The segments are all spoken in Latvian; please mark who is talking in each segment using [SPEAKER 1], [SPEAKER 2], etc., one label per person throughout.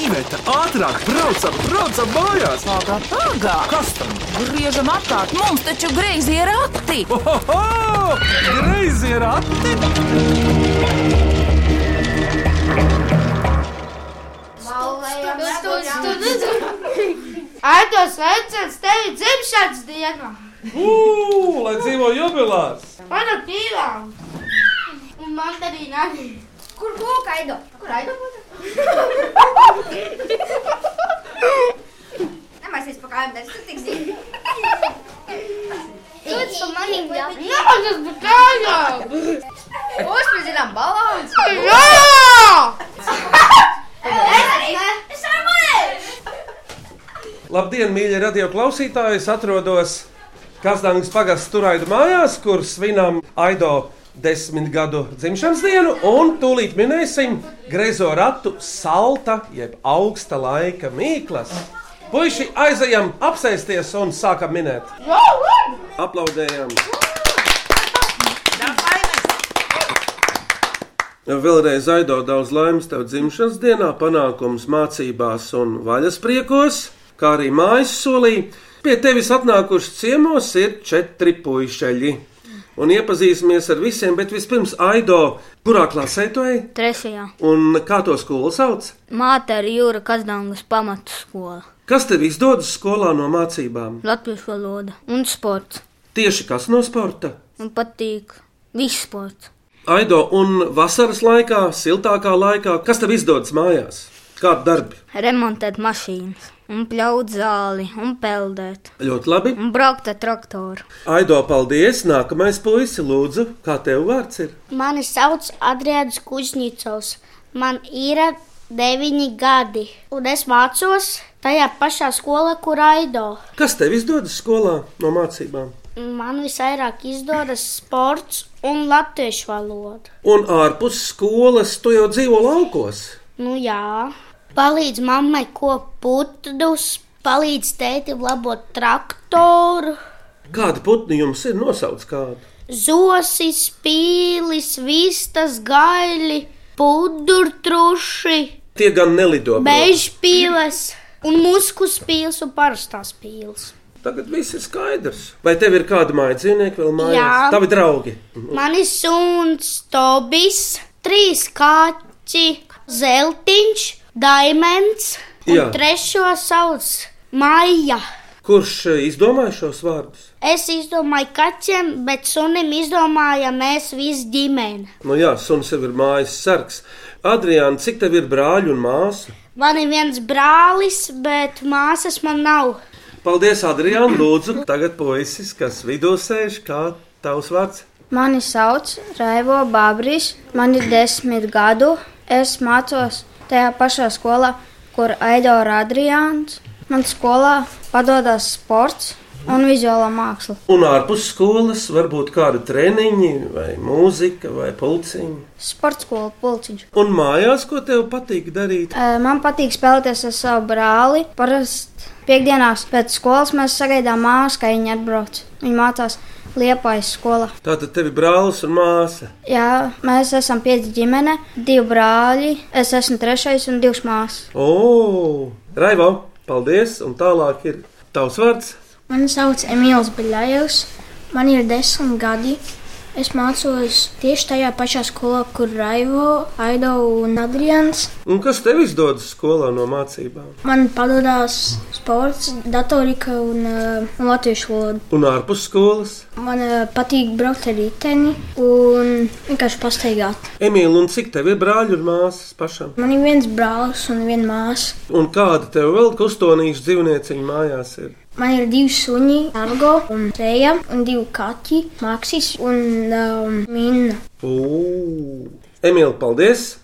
[SPEAKER 1] Iveta, ātrāk, braucam, braucam mājās!
[SPEAKER 2] Pagā, pagā!
[SPEAKER 1] Kas tam?
[SPEAKER 2] Griežam atkārt, mums taču greizi ir akti!
[SPEAKER 1] Ohoho! Greizi ir ati!
[SPEAKER 3] Ai, tas veicams tevi dzimšanas dienā!
[SPEAKER 4] Ugh, lai dzīvo jubilārs!
[SPEAKER 3] Man ir pīlām! Un man arī nāk! Kur būk aido? Kur aido būtu?
[SPEAKER 5] Nemaisies pa kājām, tas ir tik zīmīgi.
[SPEAKER 6] Lūdzu, pa manim jau.
[SPEAKER 3] Jā, tas bija tā jau!
[SPEAKER 5] Uzspridzinām balons!
[SPEAKER 3] Jā!
[SPEAKER 5] Es armulēšu!
[SPEAKER 4] Labdien, mīļie radio klausītāji! Es atrodos Kazdāngas pagasts turaidu mājās, kur svinam Aido desmit gadu dzimšanas dienu un tūlīt minēsim grezo ratu salta jeb augsta laika mīklas. Puisi aizejam apsēsties un sākam minēt. Aplaudējam! Vēlreiz aido daudz laimes tev dzimšanas dienā, panākums mācībās un vaļas priekos, kā arī mājas solī. Pie tevis atnākuši ciemos ir četri puišeļi. Un iepazīsimies ar visiem, bet vispirms aido, kurā klasē tu ej
[SPEAKER 6] Trešajā.
[SPEAKER 4] un kā to skolu sauc?
[SPEAKER 6] Māte ir Jūra Kazdāngas pamatu skola.
[SPEAKER 4] Kas tev izdodas skolā no mācībām?
[SPEAKER 6] Latviešu valoda un sports.
[SPEAKER 4] Tieši kas no sporta?
[SPEAKER 6] Man patīk viss sports.
[SPEAKER 4] Aido, un vasaras laikā, siltākā laikā, kas tev izdodas mājās? Kādi darbi?
[SPEAKER 6] Remontēt mašīnas, un pļaut zāli, un peldēt,
[SPEAKER 4] Ļoti labi.
[SPEAKER 6] un braukt ar traktoru.
[SPEAKER 4] Aido, paldies! Nākamais puisis, lūdzu, kā tev vārds ir?
[SPEAKER 7] Mani sauc Adrians Kusnicovs. Man ir deviņi gadi, un es mācos tajā pašā skolā, kur Aido.
[SPEAKER 4] Kas tev izdodas skolā no mācībām?
[SPEAKER 7] Man visvairāk izdodas sports un latviešu valoda.
[SPEAKER 4] Un ārpus skolas tu jau dzīvo laukos.
[SPEAKER 7] Nu, jā, palīdz mammai kopt putnus, palīdz tētim labot traktoru,
[SPEAKER 4] Kāda putni jums ir nosauc kādu?
[SPEAKER 7] zosis, pīlis, vistas, gaili, pudurtruši.
[SPEAKER 4] Tie gan nelido. protams.
[SPEAKER 7] Beigšs pīles, un muskuļs pīles un parastās pīles.
[SPEAKER 4] Tagad viss ir skaidrs. Vai tev ir kāda māja dzīvnieka vēl mājās?
[SPEAKER 7] Jā.
[SPEAKER 4] Tavi draugi.
[SPEAKER 7] Man ir suns, tobis, trīs kaķi, zeltiņš, diamonds, un
[SPEAKER 4] Jā.
[SPEAKER 7] trešo sauc maija.
[SPEAKER 4] Kurš eh, izdomāja šos vārdus?
[SPEAKER 7] Es izdomāju kaķiem, bet sunim izdomāja mēs visi ģimene.
[SPEAKER 4] Nu jā, suns jau ir mājas sargs. Adriāna, cik tev ir brāļi un māsu?
[SPEAKER 7] Man ir viens brālis, bet māsas man nav.
[SPEAKER 4] Paldies, Adriāna, lūdzu. Tagad puisis, kas vidū sēž, kā tavs vārds?
[SPEAKER 8] Mani sauc Raivo Bābris, man ir desmit gadu. Es mācos tajā pašā skolā, kur Aido Radriāns. Man skolā padodas sports un vizuālā māksla.
[SPEAKER 4] Un ārpus skolas var būt kāda treniņa, vai mūzika, vai pulciņa.
[SPEAKER 8] Sports skola pulciņš.
[SPEAKER 4] Un mājās, ko tev patīk darīt?
[SPEAKER 8] Ē, Man patīk spēlēties ar savu brāli. Parasti piekdienās pēc skolas mēs sagaidām māsu, ka viņi atbrauc. Viņi mācās Liepājas skolā.
[SPEAKER 4] Tātad tev ir brālis un māsa.
[SPEAKER 8] Jā, mēs esam pieci ģimene, divi brāļi, es esmu trešais un divas māsas.
[SPEAKER 4] O, Raivo, paldies! Un tālāk ir tavs vārds.
[SPEAKER 8] Mani sauc Emīls Baļājovs, man ir desmit gadi. Es mācos tieši tajā pašā skolā, kur Raivo, Aido un Adrians.
[SPEAKER 4] Un kas tev izdodas skolā no mācībām?
[SPEAKER 8] Man padodas sports, datorika un uh, latviešu valoda.
[SPEAKER 4] Un ārpus skolas?
[SPEAKER 8] Man uh, patīk braukt ar riteni un vienkārši pastaigāt.
[SPEAKER 4] Emīl, un cik tev ir brāļi un māsas pašam?
[SPEAKER 8] Man ir viens brālis un viena māsa.
[SPEAKER 4] Un kāda tev vēl kustonīša dzīvnieciņa mājās ir?
[SPEAKER 8] Man ir divi suņi, Argo un Reja, un divi kaķi, Maksis un um, Minna.
[SPEAKER 4] O, Emīl, paldies!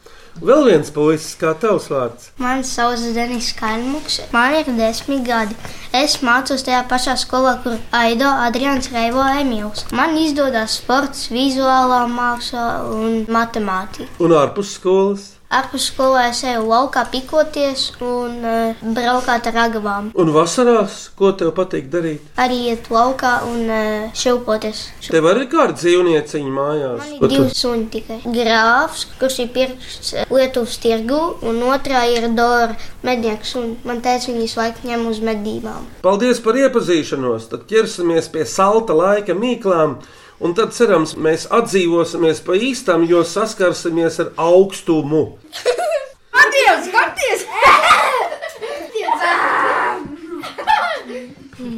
[SPEAKER 4] Vēl viens puisis, kā tavs vārds.
[SPEAKER 7] Mani sauc Denis Kalniņš, man ir desmit gadi. Es mācos tajā pašā skolā, kur Aido, Adrians, Reivo, Emīls. Man izdodas sports, vizuālā māksla un matemātika.
[SPEAKER 4] Un ārpus skolas?
[SPEAKER 7] Apskolā es eju laukā pikoties un uh, braukāt ar agavām.
[SPEAKER 4] Un vasarās, ko tev patīk darīt?
[SPEAKER 7] Arī iet laukā un uh, šilpoties.
[SPEAKER 4] Tev arī ir kāda dzīvnieciņa mājās.
[SPEAKER 7] Man ir
[SPEAKER 4] Ko tu-
[SPEAKER 7] divi suņi tikai. Grāfs, kurš ir pirkts eh, Lietuvas tirgu, un otrā ir Dora mednieks. un Man teica, viņi visu laiku ņem uz medībām.
[SPEAKER 4] Paldies par iepazīšanos. Tad ķersimies pie salta laika mīklām. Un tad, cerams, mēs atdzīvosimies pa īstam, jo saskarsimies ar augstumu.
[SPEAKER 5] Dievs, skaties!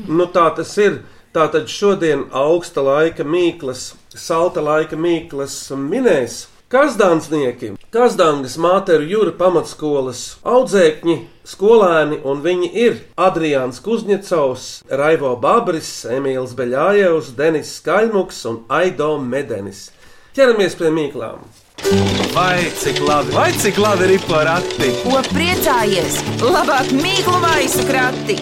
[SPEAKER 4] Nu, tā tas ir. Tātad šodien augsta laika mīklas, salta laika mīklas minēs Kazdānsnieki, Kazdāngas māteru jūra pamatskolas audzēkņi, skolēni, un viņi ir Adrians Kuzņecovs, Raivo Babris, Emīls Beļājevs, Denis Skaļmuks un Aido Medenis. Ķeramies pie mīklām!
[SPEAKER 1] Vai cik labi, vai cik labi ir pa rati?
[SPEAKER 2] Ko priecājies? Labāk mīklu maisu krati!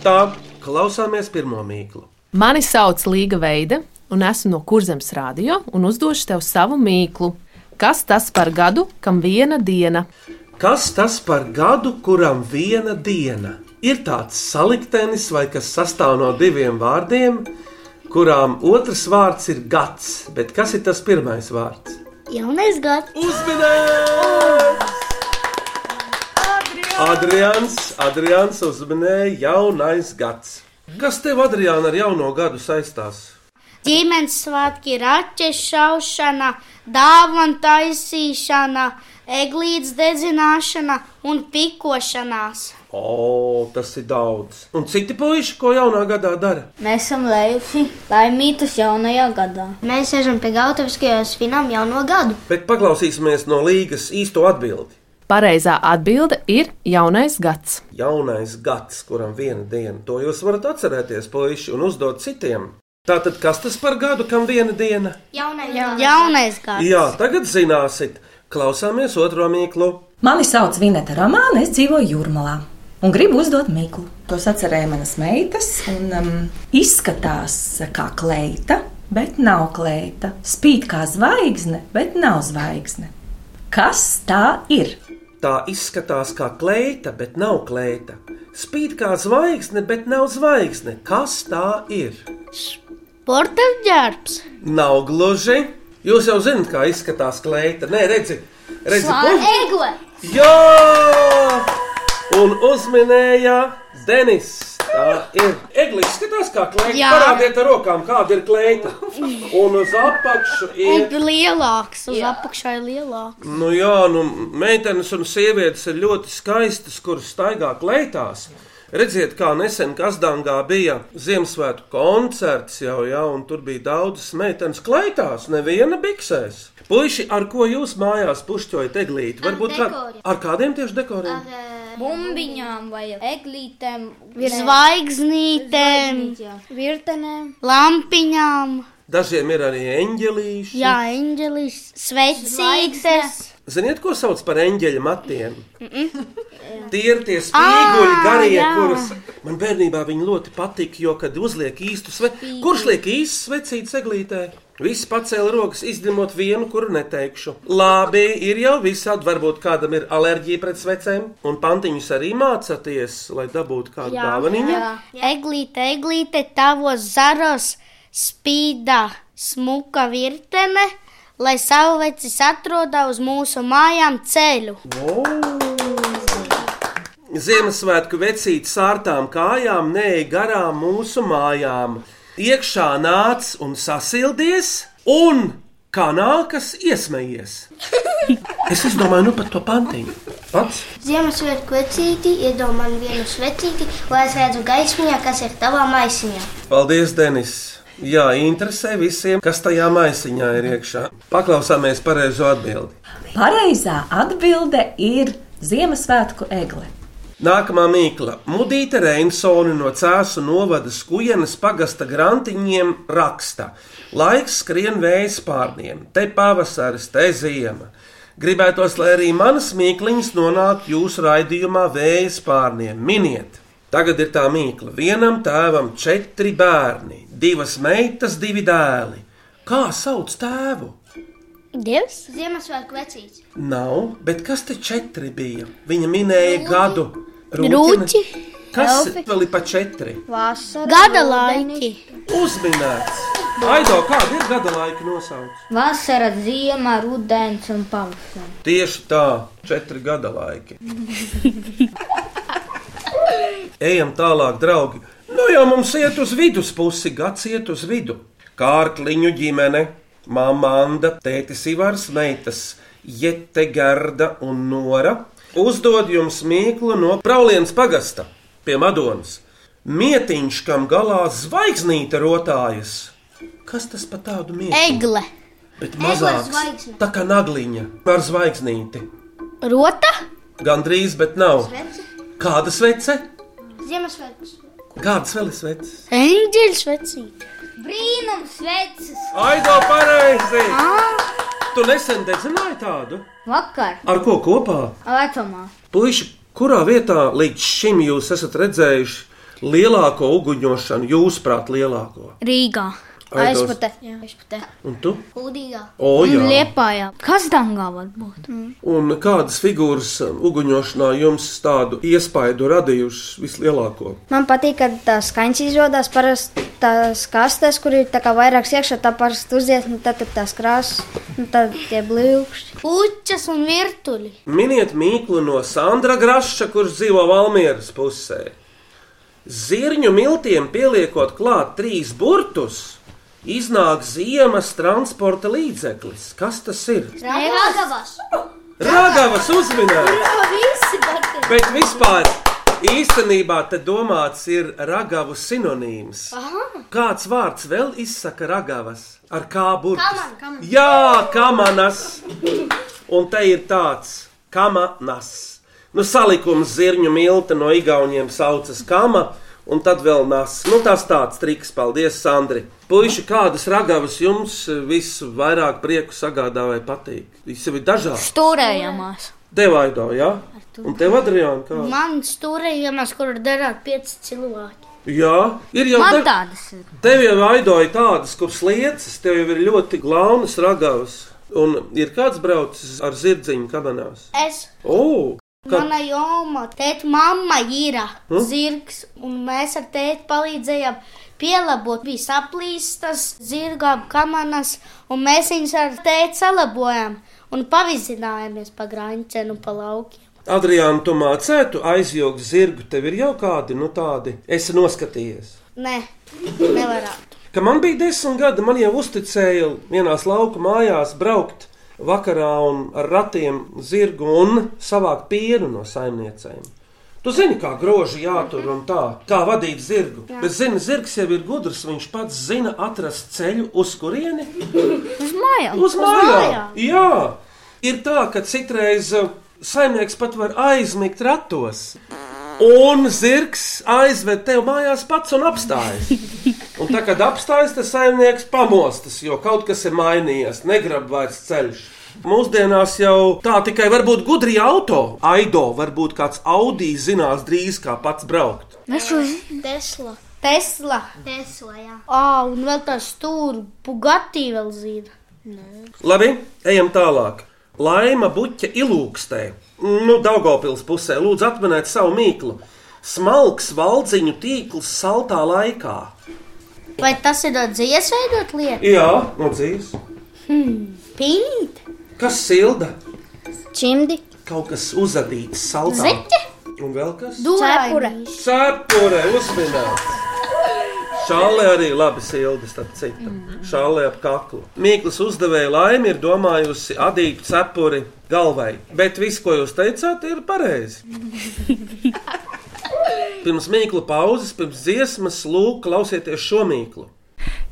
[SPEAKER 4] Tā, klausāmies pirmo mīklu.
[SPEAKER 9] Mani sauc Līga Veida, un esmu no Kurzemes Rādio, un uzdošu tev savu mīklu. Kas tas par gadu, kam viena diena?
[SPEAKER 4] Kas tas par gadu, kuram viena diena? Ir tāds saliktenis, vai kas sastāv no diviem vārdiem, kurām otrs vārds ir gads, bet kas ir tas pirmais vārds?
[SPEAKER 7] Jaunais gads!
[SPEAKER 4] Uzmanības! Adrians, Adrians uzmanēja jaunais gads. Kas tev, Adrian, ar jauno gadu saistās?
[SPEAKER 7] Ģimenes svētki, raķešu šaušana, dāvana taisīšana, eglītes dedzināšana un pikošanās.
[SPEAKER 4] O, tas ir daudz. Un citi puiši, ko jaunā gadā dara?
[SPEAKER 6] Mēs esam lejuši laimītas jaunajā gadā.
[SPEAKER 7] Mēs ejam pie Gautavas, jo svinam jauno gadu.
[SPEAKER 4] Bet paklausīsimies no līgas īsto atbildi.
[SPEAKER 9] Pareizā atbilde ir jaunais gads.
[SPEAKER 4] jaunais gads, kuram viena diena. To jūs varat atcerēties, puiši, un uzdot citiem. Tātad, kas tas par gadu, kam viena diena?
[SPEAKER 7] Jaunais, Jaunais gads!
[SPEAKER 4] Jā, tagad zināsit, klausāmies otro mīklu.
[SPEAKER 10] Mani sauc Vineta Romāna, es dzīvoju Jūrmalā. Un gribu uzdot mīklu. To atcerēja manas meitas. Un, um, izskatās kā kleita, bet nav kleita. Spīd kā zvaigzne, bet nav zvaigzne. Kas tā ir?
[SPEAKER 4] Tā izskatās kā kleita, bet nav kleita. Spīd kā zvaigzne, bet nav zvaigzne. Kas tā ir?
[SPEAKER 7] Sporta ģērbs!
[SPEAKER 4] Nav gluži. Jūs jau zināt, kā izskatās kleita. Nē, redzi, redzi, puiši.
[SPEAKER 7] Egle!
[SPEAKER 4] Jā! Un uzminēja Denis. Tā ir eglis. Skatās, kā kliņķis.
[SPEAKER 7] Jā.
[SPEAKER 4] Parādiet ar rokām, kāda ir kliņķa. Un uz apakšu ir.
[SPEAKER 7] Un lielāks, uz apakšā ir lielāks.
[SPEAKER 4] Nu jā, nu meitenes un sievietes ir ļoti skaistas, kuras staigā kleitās. Redziet, kā nesen Kazdāngā bija Ziemassvētku koncerts jau, jā, un tur bija daudzas meitenes kleitās, neviena biksēs. Puisi, ar ko jūs mājās pušķojat eglīti?
[SPEAKER 7] Ar
[SPEAKER 4] Varbūt kā,
[SPEAKER 7] dekoriem. eh,
[SPEAKER 4] ar kādiem tieši dekoriem?
[SPEAKER 3] Bumbiņām vai eglītēm.
[SPEAKER 7] Zvaigznītēm,
[SPEAKER 8] Virtenēm,
[SPEAKER 7] lampiņām,
[SPEAKER 4] Dažiem ir arī eņģelīši.
[SPEAKER 7] jā, eņģelis, svecītes,
[SPEAKER 4] Ziniet, ko sauc par eņģeļa matiem? Tie ir tie spīguļi, garie,
[SPEAKER 7] jā.
[SPEAKER 4] kurus man bērnībā viņi ļoti patika. Jo, kad uzliek īstu sveci, kurš liek īstu svecītu seglītē? Visi pacēla rokas, izņemot vienu, kuru neteikšu. Labi, ir jau visādi. Varbūt kādam ir alerģija pret svecēm, un pantiņus arī mācāties, lai dabūtu kādu dāvaniņu.
[SPEAKER 7] eglīte, eglīte, tavos zaros spīdā smuka virtene, lai savvecis atrodā uz mūsu mājām ceļu.
[SPEAKER 4] Oh! Ziemassvētku vecīt sārtām kājām neej garām mūsu mājām. Iekšā nāc un sasildies, un kā nākas iesmējies. Es izdomāju, nu pat to pantiņu. Pats
[SPEAKER 7] Ziemassvētku vecīti, iedomā man vienu svecīti, lai es redzu gaismiņā, kas ir tavā maisiņā.
[SPEAKER 4] Paldies, Denis! Jā, interesē visiem, kas tajā maisiņā ir iekšā. Paklausāmies pareizo atbildi.
[SPEAKER 10] Pareizā atbilde ir Ziemassvētku egle.
[SPEAKER 4] Nākamā mīkla. Mudita Reinsone no Cēzu novada skujienas pagasta grantiņiem raksta: Laiks skrien vējas pārniem, te pavasaris, te ziema. Gribētos, lai arī manas mīkliņas nonāktu jūsu raidījumā vējas pārniem. Miniet! Tagad ir tā mīkla. Vienam tēvam četri bērni, divas meitas, divi dēli. Kā sauc tēvu?
[SPEAKER 7] Dievs?
[SPEAKER 3] Ziemassvētku vecīts.
[SPEAKER 4] Nav, bet kas te četri bija? Viņa minēja gadu. Rūtine.
[SPEAKER 7] Rūķi,
[SPEAKER 4] Kas
[SPEAKER 7] elfi.
[SPEAKER 4] vēl ir pa četri?
[SPEAKER 8] Vasara,
[SPEAKER 7] gada
[SPEAKER 8] rudenis.
[SPEAKER 7] laiki,
[SPEAKER 4] Uzminēts! Aido, kāda ir gada laika nosaucums?
[SPEAKER 6] Vasara, ziema, rudens un pavasaris.
[SPEAKER 4] Tieši tā, četri gada laiki. Ejam tālāk, draugi. Nu jau mums iet uz viduspusi, gads iet uz vidu. Kārkliņu ģimene, māma Anna, tētis Ivars, meitas Jete, Gerda un Nora uzdod jums mīklu no Praulienas pagasta pie Madonas. Mietiņš, kam galā zvaigznīte rotājas. Kas tas par tādu mīklu?
[SPEAKER 7] egle,
[SPEAKER 4] Bet mazāks,
[SPEAKER 3] zvaigzne.
[SPEAKER 4] tā kā nagliņa ar zvaigznīti.
[SPEAKER 7] rota,
[SPEAKER 4] Gan drīz, bet nav. Kāda svece?
[SPEAKER 3] Ziemassvētku.
[SPEAKER 4] Kādas vēl ir sveces?
[SPEAKER 7] eņģeļs vecīt.
[SPEAKER 3] Brīnums sveces.
[SPEAKER 4] Aido pareizi! Tu nesen dedzināji tādu?
[SPEAKER 6] Vakar,
[SPEAKER 4] Ar ko kopā?
[SPEAKER 6] vecumā,
[SPEAKER 4] Puiši, kurā vietā līdz šim jūs esat redzējuši lielāko uguņošanu, jūsuprāt, lielāko?
[SPEAKER 6] Rīgā,
[SPEAKER 4] Aidos.
[SPEAKER 6] aizpute,
[SPEAKER 4] Un tu?
[SPEAKER 3] Kūdīgā.
[SPEAKER 4] O, jā.
[SPEAKER 6] liepājā. Kas dangā var būt?
[SPEAKER 4] Un kādas figūras um, uguņošanā jums tādu iespaidu radījušas vislielāko?
[SPEAKER 8] Man patīk, ka tās skaņas izrādās parasti tās kastes, kur ir tā kā vairāk iekšā, tā parasti uziet, un tad ir tās krāsas, un tad tie blīvkšķi.
[SPEAKER 7] Puķas un virtuļi.
[SPEAKER 4] Miniet mīklu no Sandra Graša, kurš dzīvo Valmieras pusē. Zirņu miltiem pieliekot klāt trīs burtus, iznāk ziemas transporta līdzeklis. Kas tas ir?
[SPEAKER 3] Ragavas.
[SPEAKER 4] Rāgavas uzminēts,
[SPEAKER 3] Visi bateļi.
[SPEAKER 4] bet vispār īstenībā te domāts ir ragavu sinonīms. Kāds vārds vēl izsaka ragavas ar kā burbuļs?
[SPEAKER 3] Kaman, kaman.
[SPEAKER 4] Jā, kamanas. Un te ir tāds kamanas. Nu, salikums zirņu milta no igauniem saucas kama. Un tad vēl nāca. Nu, tas tāds triks, paldies, Sandri. Puisši, kādas ragavas jums visvairāk prieku sagādā vai patīk? Viņas jau ir dažādas.
[SPEAKER 6] Stūrējamās.
[SPEAKER 4] Devaido, jā? Ja? Un tev, Adrian, kā?
[SPEAKER 7] Man stūrējumās, kur darā pieci cilvēki.
[SPEAKER 4] Jā, ir jau
[SPEAKER 6] Man
[SPEAKER 4] da-
[SPEAKER 6] tādas ir.
[SPEAKER 4] Tev jau vaidoja tādas, kuras lietas, tev jau ir ļoti glaunas, ragavas. Un ir kāds braucis ar zirdziņu kabanās.
[SPEAKER 7] Es,
[SPEAKER 4] O, kad...
[SPEAKER 7] mana joma, tēta mamma īra
[SPEAKER 4] Hmm?
[SPEAKER 7] zirgs, un mēs ar tēti palīdzējām pielabot. Bija saplīstas zirgām kamanas, un mēs viņus ar tēti salabojām un pavizinājāmies pa grāņķenu, pa laukiem.
[SPEAKER 4] Adriāna, tu mācētu aizjūgt zirgu, tev ir jau kādi, nu tādi, esi noskatījies.
[SPEAKER 7] Nē, nevarētu.
[SPEAKER 4] Kad man bija desmit gadi, man jau uzticēja vienās lauku mājās braukt vakarā un ar ratiem zirgu un savākt pienu no saimniecēm. Tu zini, kā groži jātur un tā, kā vadīt zirgu. Jā. Bet, zini, zirgs jau ir gudrs, viņš pats zina atrast ceļu uz kurieni.
[SPEAKER 6] Uz mājām.
[SPEAKER 4] Uz mājām! Jā, ir tā, ka citreiz uh, saimnieks pat var aizmigt ratos. Un zirgs aizved tevi mājās pats un apstājas. Un tā, kad apstājas, tas saimnieks pamostas, jo kaut kas ir mainījies, negrib vairs ceļš. Mūsdienās jau tā tikai var būt gudri auto. Aido, varbūt kāds Audi zinās drīz, kā pats braukt.
[SPEAKER 7] Tesla. Tesla.
[SPEAKER 3] Tesla, jā.
[SPEAKER 7] Ah, un vēl tā stūra, Bugatti vēl zina.
[SPEAKER 4] Labi, ejam tālāk. Laima buķa ilūkstē, nu, Daugopils pusē, lūdzu atminēt savu mīklu. Smalks valdziņu tīkls saltā laikā.
[SPEAKER 7] Vai tas ir no dziesveidot lietu?
[SPEAKER 4] Jā, no dzīves.
[SPEAKER 7] Pīt,
[SPEAKER 4] Kas silda?
[SPEAKER 8] Čimdi,
[SPEAKER 4] Kaut kas uzadīts saltā.
[SPEAKER 7] Zeķe?
[SPEAKER 4] Un vēl kas?
[SPEAKER 7] dūra,
[SPEAKER 4] Sērpurē uzminēts. Šāle arī labi silda, starp citu. Šāle ap kaklu. Mīklas uzdevēja laimi ir domājusi adīt cepuri galvai. Bet viss, ko jūs teicāt, ir pareizi. Pirms mīklu pauzes, pirms dziesmas, lūk, klausieties šo mīklu.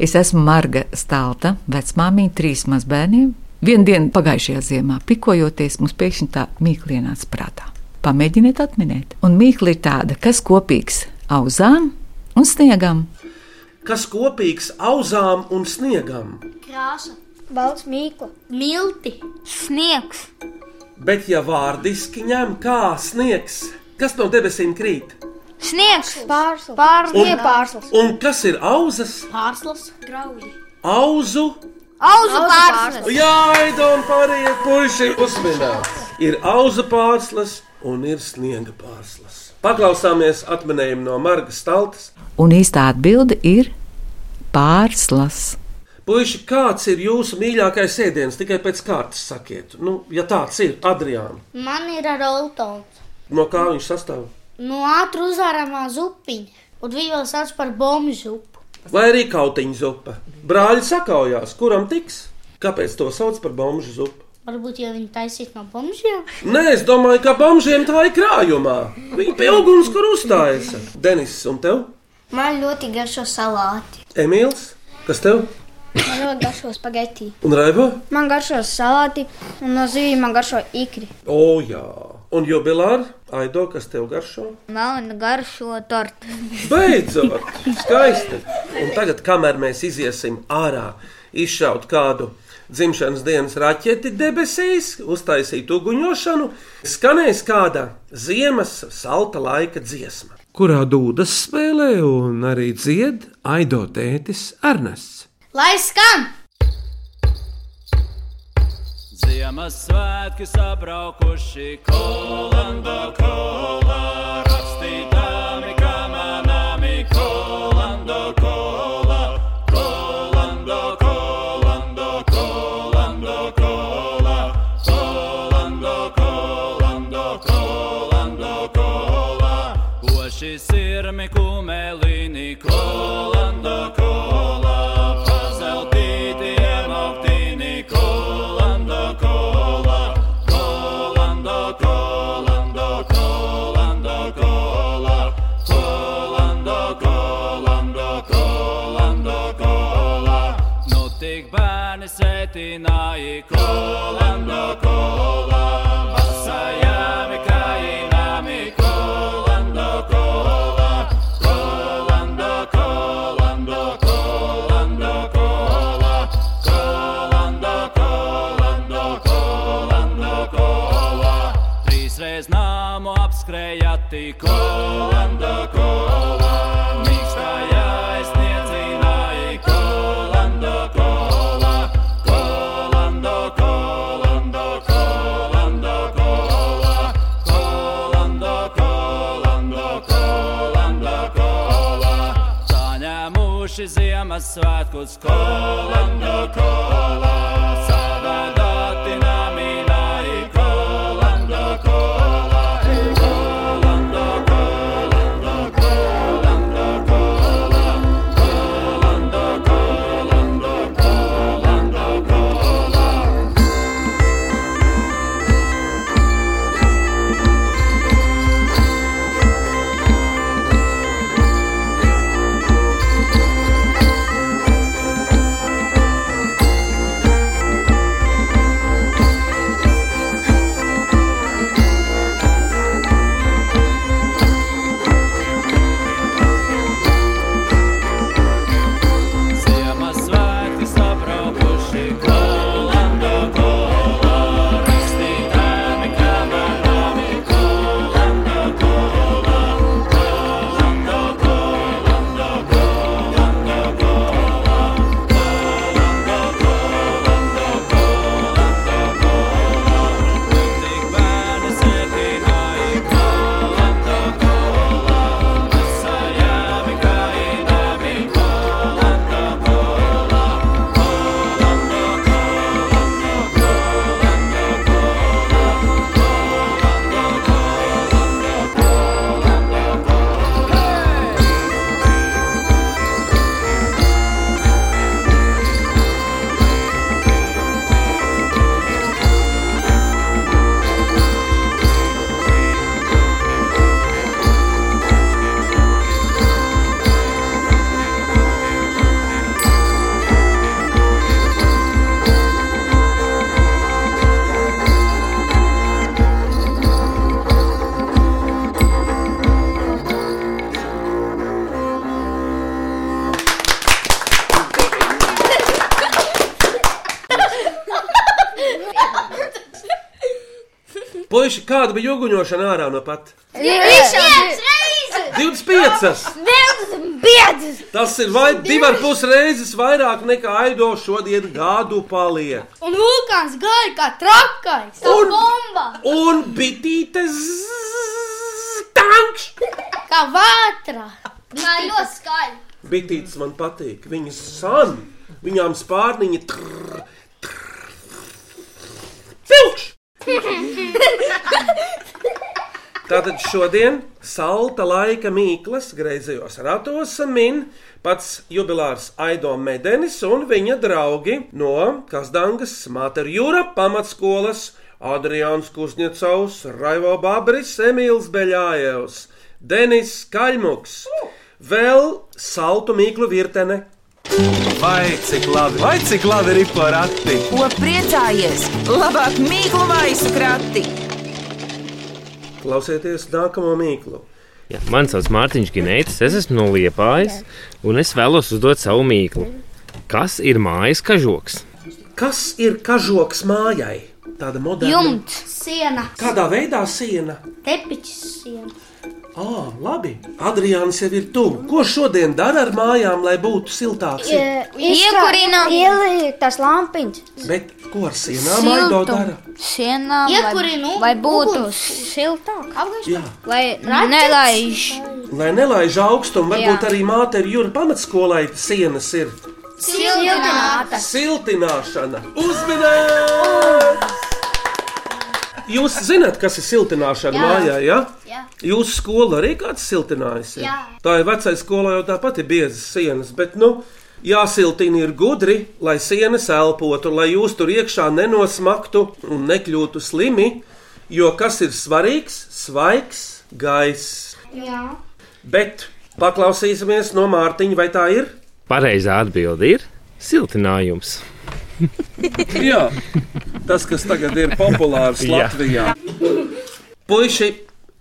[SPEAKER 11] Es esmu Marga Stalta, vecmāmiņa trīs mazbērniem. Vienu dienu pagājušajā ziemā, pikojoties, mums pēkšņi tā mīkla ienāca prātā. Pamēģiniet atminēt. Un mīkla ir tāda, kas kopīgs auzām un sniegam.
[SPEAKER 4] Kas kopīgs auzām un sniegam,
[SPEAKER 7] krāsa,
[SPEAKER 8] balts mīkla,
[SPEAKER 7] milti,
[SPEAKER 6] Sniegs,
[SPEAKER 4] bet ja vārdiski ņem kā sniegs, kas no debesīm krīt?
[SPEAKER 6] sniegs,
[SPEAKER 8] pārslas,
[SPEAKER 6] pārvietojums,
[SPEAKER 8] pārslas,
[SPEAKER 4] Un kas ir auzas?
[SPEAKER 7] pārslas, grauji,
[SPEAKER 4] Auzu
[SPEAKER 12] Auzu pārslas.
[SPEAKER 4] Jā, Aida un pārējie puiši uzminēts. Ir auza pārslas un ir sniega pārslas. Paklausāmies atminējumu no Marga Staltas.
[SPEAKER 11] Un īstā atbilde ir pārslas.
[SPEAKER 4] Puiši, kāds ir jūsu mīļākais ēdiens? Tikai pēc kārtas sakiet, nu, ja tāds ir, Adriāna.
[SPEAKER 7] Man ir ar oltons.
[SPEAKER 4] No kā viņš sastāv?
[SPEAKER 7] No ātru uzvāramā zupiņa. Un viņi vēl sauc par bombu zupu.
[SPEAKER 4] Vai arī kautiņa zupa? Brāļi sakaujās, kuram tiks? Kāpēc to sauc par bombu zupu?
[SPEAKER 7] Varbūt jau viņi taisīs no bombžiem.
[SPEAKER 4] Nē, es domāju, ka bombžiem tā ir krājumā. Viņi pie uguns, kur uzstājas. Denis, un tev?
[SPEAKER 13] Man ļoti garšo salāti.
[SPEAKER 4] Emīls, kas tev?
[SPEAKER 8] Man ļoti garšo spagetti.
[SPEAKER 4] Un Raiva?
[SPEAKER 8] Man garšo salāti, un no zivīm man garšo ikri.
[SPEAKER 4] O, jā. Un jubilāri, Aido, kas tev garšo?
[SPEAKER 6] Melna garšo tortu.
[SPEAKER 4] Beidzot, skaisti. Un tagad, kamēr mēs iesim ārā, izšaut kādu dzimšanas dienas raķeti debesīs, uztaisīt uguņošanu, skanēs kāda ziemas salta laika dziesma. Kurā dūdas spēlē un arī dzied Aido tētis Ernests.
[SPEAKER 7] Lai skan!
[SPEAKER 14] Ziemassvētki sabraukuši kolando kolā, rakstītāmi kamanāmi kolando kolā, kolando kolando kolando kolā, kolando kolando kolando kolā, koši sirmi kumelini kolando kolā, pazeltīti iemaltīni kolando kolā, kolando kolando kolando kolā, kolando kolando kolando kolā. Nu tik bērni sveitināji kolando kolā, vasajāmi kājināmi kolando kolā, kolando kolando kolando kolā, kolando kolando kolando kolā. Trīsreiz nāmu apskrējati kolando kolā, mīkstājā aizniedzināji kolando kolā, kolando kolando kolando kolā, kolando kolando kolando kolā. Saņēmuši Ziemassvētkus kolando kolā, savādāti namināji kolando kolā. Kolando, kolando, kolando, kolā. Kolando, kolando, kolando, kolā. Ziemassvētki sabraukuši kolando kolā, rakstītāmi kamerāmi kolando kolā, kolando kolando kolando kolā, kolando kolando kolando kolā. Nu tik bērni sēdināji kolando kolā, asajāmi kainami kolando kolā.
[SPEAKER 4] Puiši, kāda bija uguņošana ārā no pat?
[SPEAKER 12] Viņš ir
[SPEAKER 4] 25!
[SPEAKER 12] Vēl
[SPEAKER 3] biedzis!
[SPEAKER 4] Tas ir vai divi ar pus reizes vairāk nekā Aido šodien gadu paliek.
[SPEAKER 3] Un vulkāns gāja kā trakais!
[SPEAKER 4] Un-
[SPEAKER 3] bomba!
[SPEAKER 4] Un bitītes tankš!
[SPEAKER 3] Kā vētra! Nē, ļoti skaļi!
[SPEAKER 4] Bitītes man patīk, viņas san, viņām spārniņi trrr, Filkš! Tātad šodien salta laika mīklas greizējos ratos min pats jubilārs Aido Medenis un viņa draugi no Kazdangas Māter Jūra pamatskolas Adrians Kusņecaus, Raivo Babris, Emīls Beļājevs, Denis Kaļmuks, vēl saltu mīklu virtene.
[SPEAKER 1] Vai cik labi, vai cik labi ir porakti?
[SPEAKER 2] Ko priecājies? Labāk mīklu maisu krati!
[SPEAKER 4] Klausieties nākamo mīklu.
[SPEAKER 12] Jā, mani sauc Mārtiņš Ginēts, es esmu no Liepājas, un es vēlos uzdot savu mīklu. Kas ir mājas kažoks?
[SPEAKER 4] Kas ir kažoks mājai? Tāda moderna.
[SPEAKER 7] Jumts, siena,
[SPEAKER 4] Kādā veidā siena?
[SPEAKER 7] tepiķis, siena.
[SPEAKER 4] Ah, labi. Adrians jau ir tuvu. Ko šodien dara ar mājām, lai būtu siltāks?
[SPEAKER 13] E,
[SPEAKER 8] Iekurinām. Ieliek tas lampiņš.
[SPEAKER 4] Bet ko ar sienām Aido dara?
[SPEAKER 8] Sienā.
[SPEAKER 7] Iekurinu
[SPEAKER 6] nu,
[SPEAKER 8] Vai būtu
[SPEAKER 7] uguns.
[SPEAKER 8] siltāk?
[SPEAKER 4] Jā.
[SPEAKER 8] Lai
[SPEAKER 7] Raķets.
[SPEAKER 8] nelaiž.
[SPEAKER 4] Lai nelaiž augstumu, varbūt
[SPEAKER 8] Jā.
[SPEAKER 4] arī māte ir jūra pamatskolai sienas ir
[SPEAKER 7] Siltināta.
[SPEAKER 4] siltināšana. Uzmanīt! Jūs zināt, kas ir siltināšana
[SPEAKER 14] Jā.
[SPEAKER 4] mājā, jā?
[SPEAKER 14] Jā.
[SPEAKER 4] Jūsu skola arī kāds siltinājis. ir?
[SPEAKER 14] Jā.
[SPEAKER 4] Tā ir vecā skolā jau tāpat ir biezas sienas, bet, nu, jāsiltina ir gudri, lai sienas elpotu, lai jūs tur iekšā nenosmaktu un nekļūtu slimi, jo kas ir svarīgs? Svaigs gaiss.
[SPEAKER 3] Jā.
[SPEAKER 4] Bet paklausīsimies no Mārtiņa, vai tā ir?
[SPEAKER 12] Pareizā atbilde ir siltinājums.
[SPEAKER 4] Jā, tas, kas tagad ir populārs
[SPEAKER 12] Jā.
[SPEAKER 4] Latvijā. Puisi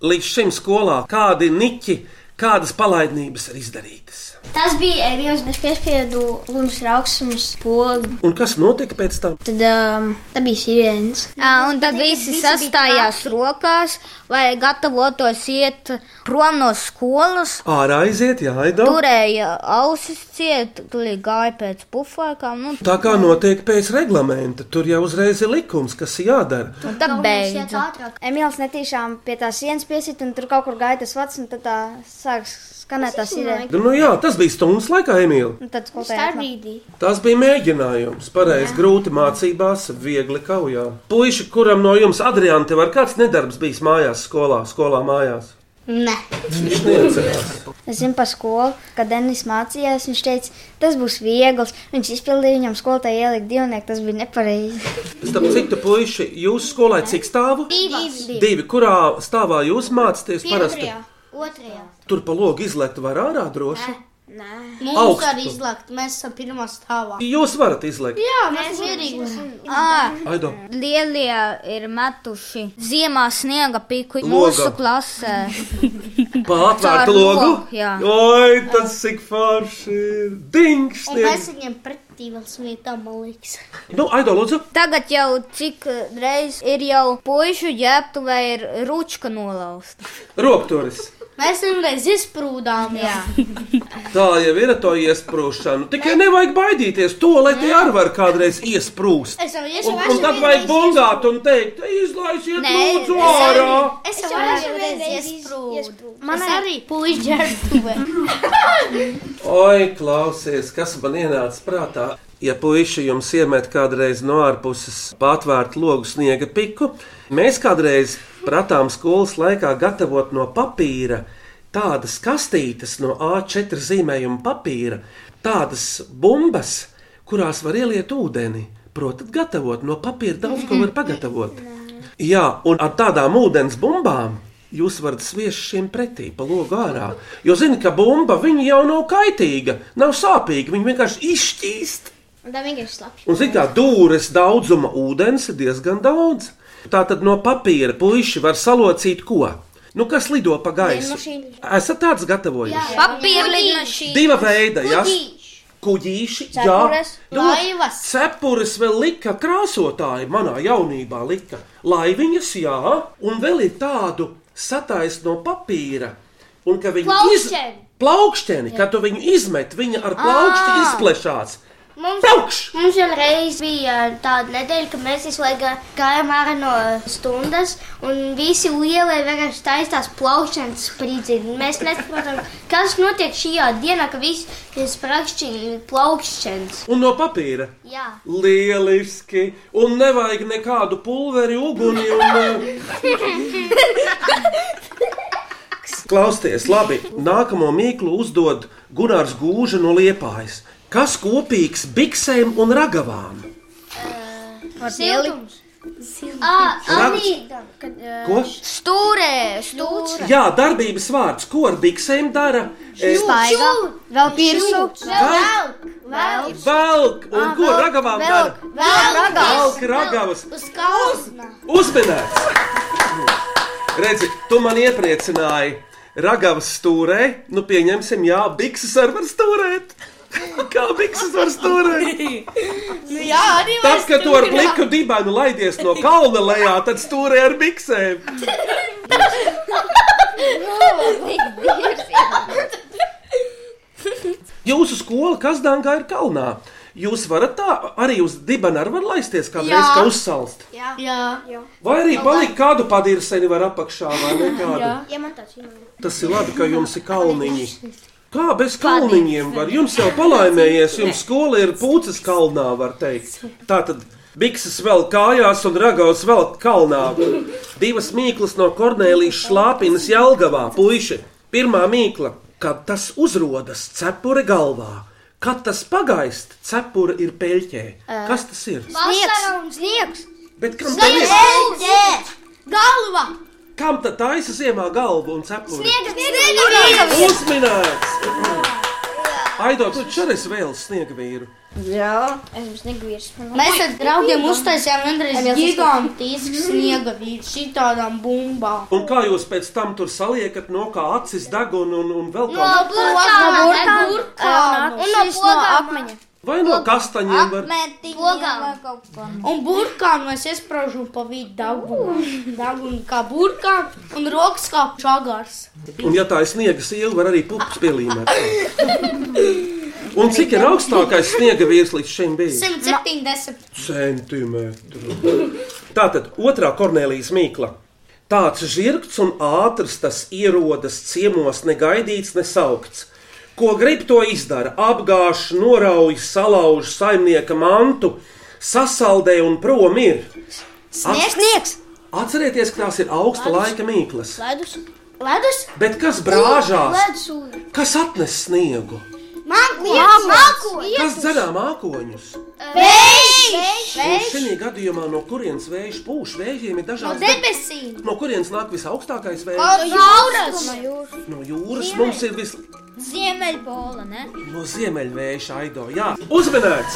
[SPEAKER 4] līdz šim skolā, kādi niķi, kādas palaidnības ir izdarītas?
[SPEAKER 13] Tas bija viens, kas piespiedu lunas rauksumus pogu.
[SPEAKER 4] Un kas notika pēc tam?
[SPEAKER 13] Tad um, tā bija sirēns.
[SPEAKER 6] Ā, Un tad visi sastājās rokās, lai gatavotos iet prom no skolas.
[SPEAKER 4] Ārā aiziet, jāido.
[SPEAKER 6] Turēja ausis ciet, tūlīt gāja pēc pufēkām. Nu,
[SPEAKER 4] Tā kā notiek pēc reglamenta, tur jau uzreiz ir likums, kas jādara.
[SPEAKER 6] Un tad beidz.
[SPEAKER 8] Emīls netīšām pie tās sienas piesita, un tur kaut kur gāja tas vats, un tad tā sāk skanēt tā sirēna.
[SPEAKER 4] Nu, jā, tas bija stundas laikā, Emīlija.
[SPEAKER 8] Un tad skolotājai atnāk.
[SPEAKER 4] Tas bija mēģinājums. Pareizi, grūti mācībās, viegli kaujā. Puisi, kuram no jums, Adrianti, var kāds nedarbs bijis mājās, skolā, skolā mājās?
[SPEAKER 8] Nē.
[SPEAKER 4] Viņš neatcerās.
[SPEAKER 8] Es zinu par skolu, kad Denis mācījās. Viņš teica, tas būs viegls. Viņš izpildīja viņam skolotāju ielikt divnieku. Tas bija nepareizi.
[SPEAKER 4] Starp citu, puiši, jūsu skolai cik stāvu?
[SPEAKER 13] Divas.
[SPEAKER 4] Divi, kurā stāvā jūs mācāties parasti?
[SPEAKER 13] Pirmajā, otrajā.
[SPEAKER 4] Tur pa logu izlekt var ārā droši.
[SPEAKER 13] Nē,
[SPEAKER 4] Augstu.
[SPEAKER 13] mums arī izlakt, mēs esam pirmā stāvā.
[SPEAKER 4] Jūs varat izlekt.
[SPEAKER 13] Jā, mēs mierīgi.
[SPEAKER 6] Ā,
[SPEAKER 4] Aido.
[SPEAKER 6] Lielie ir metuši ziemā sniega piku
[SPEAKER 4] Logā.
[SPEAKER 6] mūsu klasē.
[SPEAKER 4] Pa
[SPEAKER 6] Caur
[SPEAKER 4] atvērtu logu.
[SPEAKER 6] logu, jā.
[SPEAKER 4] Oi, tas cik forši ir. Dings!
[SPEAKER 13] Un mēs viņiem pretī vēl smietām, man liekas.
[SPEAKER 4] Nu, Aido, lūdzu.
[SPEAKER 6] Tagad jau cik eh, reiz ir jau pušu ģērbtu vai ir ručka nolausta.
[SPEAKER 4] Rokturis.
[SPEAKER 13] Mēs vienreiz izsprūdām. Jā.
[SPEAKER 4] Tā jau ir ar to iesprūšanu. Tikai nevajag baidīties to, lai tie arī var kādreiz iesprūst.
[SPEAKER 13] Es jau
[SPEAKER 4] Un, un tad vajag bungāt un teikt, izlaisiet lūdzu ārā.
[SPEAKER 13] Es
[SPEAKER 3] Es
[SPEAKER 13] jau
[SPEAKER 3] jau
[SPEAKER 13] esmu
[SPEAKER 3] esmu
[SPEAKER 13] reizes
[SPEAKER 3] reiz
[SPEAKER 13] iesprūdu.
[SPEAKER 3] Man
[SPEAKER 13] Es arī
[SPEAKER 3] arī.
[SPEAKER 13] puišģērbtuvē.
[SPEAKER 4] Oi, klausies, kas man ienāca prātā? Ja puiši jums iemet kādreiz no ārpuses patvērtu logu sniega piku, mēs kādreiz prātām skolas laikā gatavot no papīra tādas kastītes no A4 zīmējuma papīra, tādas bumbas, kurās var ieliet ūdeni. Protams, gatavot no papīra daudz ko var pagatavot. Jā, un ar tādām ūdens bumbām jūs varat sviest šiem pretī, pa logu ārā. Jo zini, ka bumba viņa jau nav kaitīga, nav sāpīga, viņa vienkārši izšķīst.
[SPEAKER 13] Un tā vienkārši slapja.
[SPEAKER 4] Un zini, kā dūres daudzuma ūdens ir diezgan daudz. Tā tad no papīra puiši var salocīt ko? Nu, kas lido pa gaisu? Esat tāds gatavojis.
[SPEAKER 6] Papīra lidmašīna.
[SPEAKER 4] Diva veida, jā. Kuģīši, jā.
[SPEAKER 6] Cepures,
[SPEAKER 4] Nu,
[SPEAKER 6] laivas.
[SPEAKER 4] Cepures vēl lika krāsotāji, manā jaunībā lika laiviņas, jā, un vēl ir tādu sataisno papīra. un ka viņi
[SPEAKER 7] Plaukšteni.
[SPEAKER 4] plaukšteni, ka tu viņu izmet, viņa ar plaukšti
[SPEAKER 7] Ā.
[SPEAKER 4] izplešās.
[SPEAKER 7] Mums, mums vienreiz bija tāda nedēļa, ka mēs visu laiku gājām ārā no stundas, un visi ielai vienkārši taisās plaukšanas spridzina. Mēs nesaprotam, kas notiek šajā dienā, ka visi ir sprakšķini plaukšanas.
[SPEAKER 4] Un no papīra.
[SPEAKER 7] Jā.
[SPEAKER 4] Lieliski! Un nevajag nekādu pulveri, uguni un. eh, Klausieties, labi. Nākamo mīklu uzdod Gunārs Gūža no Liepājas. Kas kopīgs biksēm un ragavām?
[SPEAKER 13] Siltums.
[SPEAKER 4] Amīda. Ko?
[SPEAKER 13] Stūrē, stūrē.
[SPEAKER 4] Jā, darbības vārds. Ko ar biksēm dara? Eh,
[SPEAKER 13] Staigā.
[SPEAKER 8] Vēl pirsu.
[SPEAKER 4] Vēl- Velk! Un ko ar ragavām dara? Velk ragavas!
[SPEAKER 7] Uz kalna!
[SPEAKER 4] Uzmanīts! Redzi, tu man iepriecināji. Ragavas stūrē, nu pieņemsim, jā, bikses ar var stūrēt. Kā bikses var stūrēt?
[SPEAKER 5] Nu, jā, arī
[SPEAKER 4] Tad, kad tu ar pliku dibenu laidies no kalna lejā, tad stūrē ar biksēm. Jūsu skola Kazdāngā ir kalnā. Jūs varat tā arī uz dibenu ar var laisties kādreiz,
[SPEAKER 7] Jā.
[SPEAKER 4] kā uzsalst.
[SPEAKER 7] Jā. Jā. Jā.
[SPEAKER 4] Vai arī palikt kādu padirseni var apakšā vai nekādu.
[SPEAKER 7] Jā, man tāds ir.
[SPEAKER 4] Tas ir labi, ka jums ir kalniņi. Kā bez kalniņiem var? Jums jau palaimējies, jums skola ir pūces kalnā, var teikt. Tā tad bikses vēl kājās un ragaus vēl kalnā. Divas mīklas no Kornēlijas šlāpinas Jelgavā, puiši. Pirmā mīkla, kad tas uzrodas cepure galvā, kad tas pagaist, cepure ir peļķē. Kas tas ir?
[SPEAKER 7] Sniegs! Sniegs!
[SPEAKER 4] Bet kam tad ir?
[SPEAKER 7] Sniegs! Galva!
[SPEAKER 4] Kam tad taisa ziemā galvu un cepuri?
[SPEAKER 5] Sniegs!
[SPEAKER 4] Uzminēts! Aido, tu čeres vēl sniega vīru.
[SPEAKER 7] Jā.
[SPEAKER 13] Es jums negribu.
[SPEAKER 7] Mēs ar draugiem uztaisījām vienreiz
[SPEAKER 13] Ai, vēl
[SPEAKER 7] gigām
[SPEAKER 13] saskatīt.
[SPEAKER 7] tīsku sniega vīru šitādām bumbām.
[SPEAKER 4] Un kā jūs pēc tam tur saliekat no kā acis deg un, un, un vēl kā?
[SPEAKER 7] Un no apmeņa.
[SPEAKER 4] Vai no kastaņiem var?
[SPEAKER 7] Un burkānu mēs iesprāžam pa vidu dabu. Dabu kā burkānu un rokas kā čagars.
[SPEAKER 4] Un ja tā ir sniega siela, var arī pupas pielīmēt. Un cik ir augstākais sniega vīrs līdz šim bija?
[SPEAKER 7] 170.
[SPEAKER 4] Centimetru. Tātad otrā Kornelijas mīkla. Tāds žirgs un ātrs tas ierodas ciemos, negaidīts, nesaukts. Ko grib to izdara? Apgāž, norauj, salauž saimnieka mantu, sasaldē un prom ir.
[SPEAKER 13] Sniegs!
[SPEAKER 4] Atcerieties, ka tās ir augsta laika mīklas.
[SPEAKER 13] Ledus! Ledus!
[SPEAKER 4] Bet kas brāžās?
[SPEAKER 13] Ledus! ūdens.
[SPEAKER 4] Kas atnes sniegu?
[SPEAKER 13] Mākonis!
[SPEAKER 4] Kas
[SPEAKER 13] Mākonis!
[SPEAKER 4] dzerā mākoņus?
[SPEAKER 13] Vējš!
[SPEAKER 4] Un šajā gadījumā no kurienes vējš pūš? Vējiem ir dažādas
[SPEAKER 7] debesīm!
[SPEAKER 4] No kurienes nāk visaugstākais
[SPEAKER 13] No
[SPEAKER 4] vējš?
[SPEAKER 13] jūras!
[SPEAKER 4] No jūras mums ir vis
[SPEAKER 13] Ziemeļpola, ne?
[SPEAKER 4] no ziemeļvējš, Aido. Jā, uzmanīts!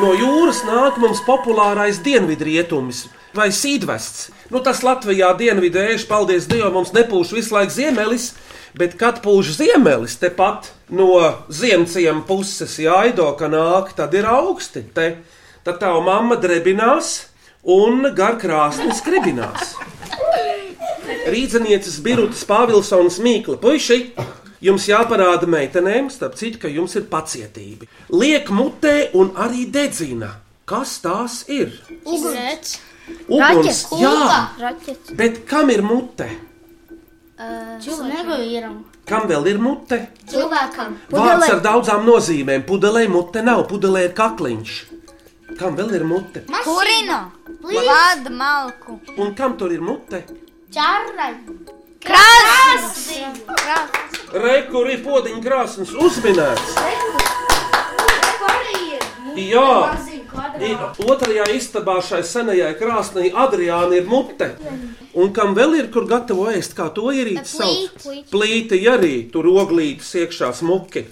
[SPEAKER 4] No jūras nāk mums populārais dienvidrietumis vai sīdvests. Nu, tas Latvijā dienvidu vējš, paldies Dievam, mums nepūš visu laiku ziemelis. Bet kad pūš ziemelis, tepat no ziemciem puses, ja aido, ka nāk, tad ir augsti. Te. Tad tava mamma drebinās un garkrāsni skribinās. Rīdzenieces Birūtas Pāvilsons Mīkla. Puiši, jums jāparāda meitenēm, starp citu, ka jums ir pacietība. Liek mutē un arī dedzina. Kas tās ir?
[SPEAKER 13] Uguns!
[SPEAKER 4] Uguns, jā,
[SPEAKER 7] Raķets!
[SPEAKER 4] bet kam ir mute?
[SPEAKER 7] Cilvēku vīram!
[SPEAKER 4] Kam vēl ir mute?
[SPEAKER 7] Cilvēkam!
[SPEAKER 4] Vārds ar daudzām nozīmēm. Pudelē mute nav, pudelē ir kakliņš. Kam vēl ir mute?
[SPEAKER 6] Kurino! Vada malku!
[SPEAKER 4] Un kam tur ir mute?
[SPEAKER 7] Čārrai!
[SPEAKER 6] Krasi!
[SPEAKER 4] Rekurī podziņa krāsnes uzminēts. Jā. I- Otrajā istabā šai senajai krāsnī Adriāna ir mute. Un kam vēl ir kur gatavo ēst, kā to ierīt sauc? Plīti arī tur oglītas iekšā smuki.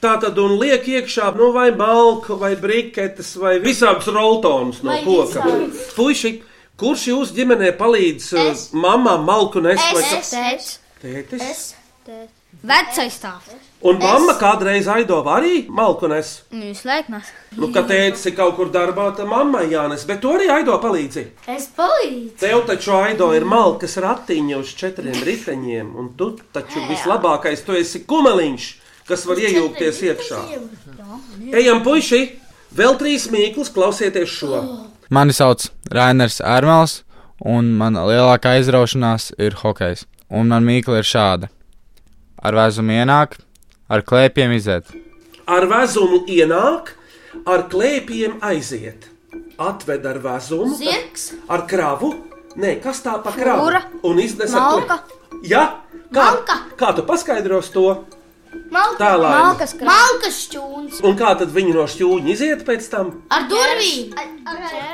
[SPEAKER 4] Tā tad un liek iekšā, nu vai malku, vai briketes, vai visādas roltons no
[SPEAKER 14] Vai
[SPEAKER 4] koka.
[SPEAKER 14] visādas.
[SPEAKER 4] Puiši, kurš jūs eh, ģimenē palīdz uh, mamām malku nest? vai ka-
[SPEAKER 7] Es!
[SPEAKER 4] Tētis?
[SPEAKER 7] Es!
[SPEAKER 6] Vecais stāvs.
[SPEAKER 4] Un mamma kādreiz aidova arī malku nes.
[SPEAKER 6] Jūs laikmās.
[SPEAKER 4] Nu, kad tēvs ir kaut kur darbā, tad mammai jānes, bet to arī aidova palīdzi.
[SPEAKER 7] Es palīdzu.
[SPEAKER 4] Tev taču aido ir malkas ratiņš uz četriem riteņiem, un tu taču vislabākais, tu esi kumeliņš, kas var iejaukties iekšā. Ejam, puiši! Vēl trīs mīklas, klausieties šo!
[SPEAKER 15] Mani sauc Rainers Ermels, un mana lielākā aizraušanās ir hokejs. Un man mīkla ir šāda. Ar vēzumu ienāk, ar klēpiem iziet.
[SPEAKER 4] Ar vēzumu ienāk, ar klēpiem aiziet. Atved ar vēzumu,
[SPEAKER 7] Zirgs?
[SPEAKER 4] ar kravu, nē, kas tā pa kravu?
[SPEAKER 7] Šūra?
[SPEAKER 4] Un iznes ar
[SPEAKER 7] Malka?
[SPEAKER 4] klēpiem. Ja? Kā, kā tu paskaidros to?
[SPEAKER 7] Malka,
[SPEAKER 4] Tālāk.
[SPEAKER 7] malkas, krāsa. malkas šķūns.
[SPEAKER 4] Un kā tad viņi no šķūņa iziet pēc tam?
[SPEAKER 7] Ar durvīm!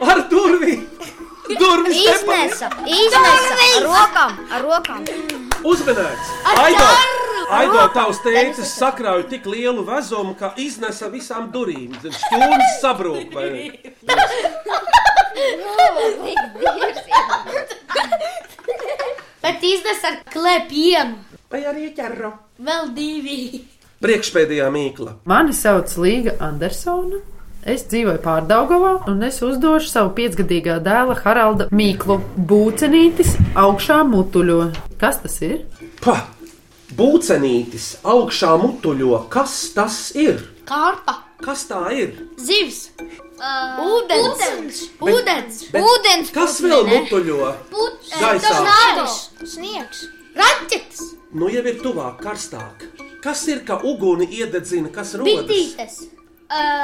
[SPEAKER 4] Ar durvīm! Durvis
[SPEAKER 8] Iznesa, iznesa ar rokām, ar rokām.
[SPEAKER 4] Uzmanīgs!
[SPEAKER 8] Ar
[SPEAKER 4] Aido!
[SPEAKER 8] darbu!
[SPEAKER 4] Aido, tavs teicis, sakrauj tik lielu vezumu, ka iznesa visām durvīm. Tad šķūnis sabrūk. vai ne?
[SPEAKER 7] Bet iznes ar klēpiem.
[SPEAKER 4] Vai arī ķerro?
[SPEAKER 7] Vēl divi.
[SPEAKER 4] Priekšpēdējā mīkla.
[SPEAKER 16] Mani sauc Līga Andersona. Es dzīvoju Pārdaugavā, un es uzdošu savu piecgadīgā dēla Haralda Mīklu. Būcenītis augšā mutuļo. Kas tas ir?
[SPEAKER 4] Pa! Būcenītis augšā mutuļo. Kas tas ir?
[SPEAKER 7] Kārpa.
[SPEAKER 4] Kas tā ir?
[SPEAKER 7] Zivs. Ūdens.
[SPEAKER 4] Bet-
[SPEAKER 7] Ūdens.
[SPEAKER 4] bet Kas vēl mutuļo? Gaisā.
[SPEAKER 7] Sniegs.
[SPEAKER 4] Raķetes! Nu jau ir tuvāk, karstāk. Kas ir, ka uguni iededzina, kas rodas?
[SPEAKER 7] Bitītes.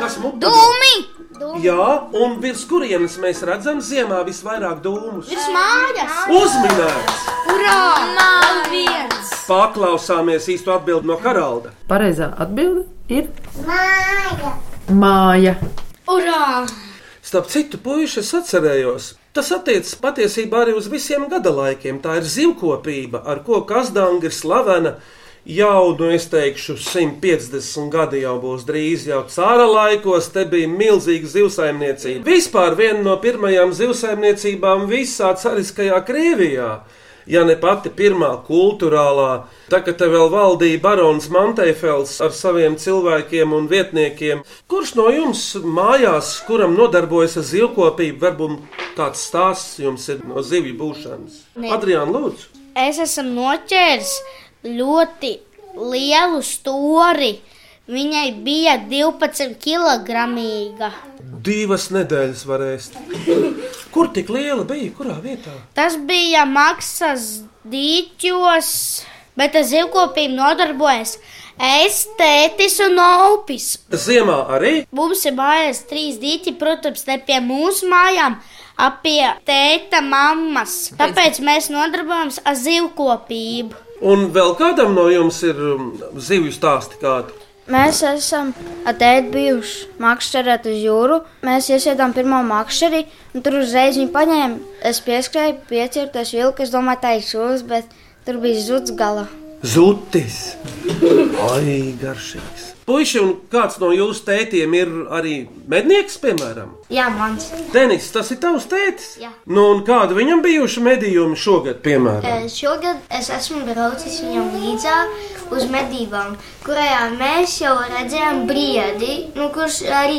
[SPEAKER 4] Kas mutuļo?
[SPEAKER 7] Dūmi.
[SPEAKER 4] Jā, un virs kurienes mēs redzam ziemā visvairāk dūmus?
[SPEAKER 7] Virs mājas.
[SPEAKER 4] Uzminēts!
[SPEAKER 7] Urā! Nav viens.
[SPEAKER 4] Paklausāmies īsto atbildi no Haralda.
[SPEAKER 16] Pareizā atbilde ir
[SPEAKER 7] Māja.
[SPEAKER 16] māja.
[SPEAKER 7] Urā!
[SPEAKER 4] Starp citu, puiši, es atcerējos, tas attiecas patiesībā arī uz visiem gada laikiem. Tā ir zivkopība, ar ko Kazdanga ir slavena. Jau, nu, es teikšu, 150 gadi jau būs drīz, jau cāra laikos te bija milzīga zivsaimniecība. Vispār viena no pirmajām zivsaimniecībām visā cariskajā Krievijā. Ja ne pati pirmā kultūrālā, tā kā te vēl valdīja barons Manteifels ar saviem cilvēkiem un vietniekiem, kurš no jums mājās, kuram nodarbojas ar zivkopību, varbūt kāds stāsts jums ir no zivju būšanas?
[SPEAKER 7] Nē.
[SPEAKER 4] Adrian, lūdzu!
[SPEAKER 7] Es esmu noķēris ļoti lielu stūri. Viņai bija 12 kg.
[SPEAKER 4] Divas nedēļas varēs. Kur tik liela bija? Kurā vietā?
[SPEAKER 7] Tas bija maksas dīķos, bet ar zivkopību nodarbojas es, tētis un opis.
[SPEAKER 4] Ziemā arī
[SPEAKER 7] Mums ir mājās trīs dīķi, protams, ne pie mūsu mājām, ap pie tēta mammas. Tāpēc mēs nodarbojamies ar zivkopību.
[SPEAKER 4] Un vēl kādam no jums ir um, zivju stāsti kādi?
[SPEAKER 8] Mēs esam atēti bijuši makšķerēt uz jūru. Mēs iesiedām pirmo makšķeri, un tur uzreiz viņu paņēma. Es pieskrēju, piecirties vilku, es domāju, tā ir šūs, bet tur bija zuds gala.
[SPEAKER 4] Zutis! Ai, garšīgs! Puisi, un kāds no jūsu tētiem ir arī mednieks, piemēram?
[SPEAKER 7] Jā, mans.
[SPEAKER 4] Denis, tas ir tavs tētis?
[SPEAKER 13] Jā.
[SPEAKER 4] Nu, un kāda viņam bijuši medījumi šogad, piemēram?
[SPEAKER 13] Eh, Šogad es esmu braucis viņam līdzā uz medībām, kurajā mēs jau redzējām briedi, nu, kurš arī,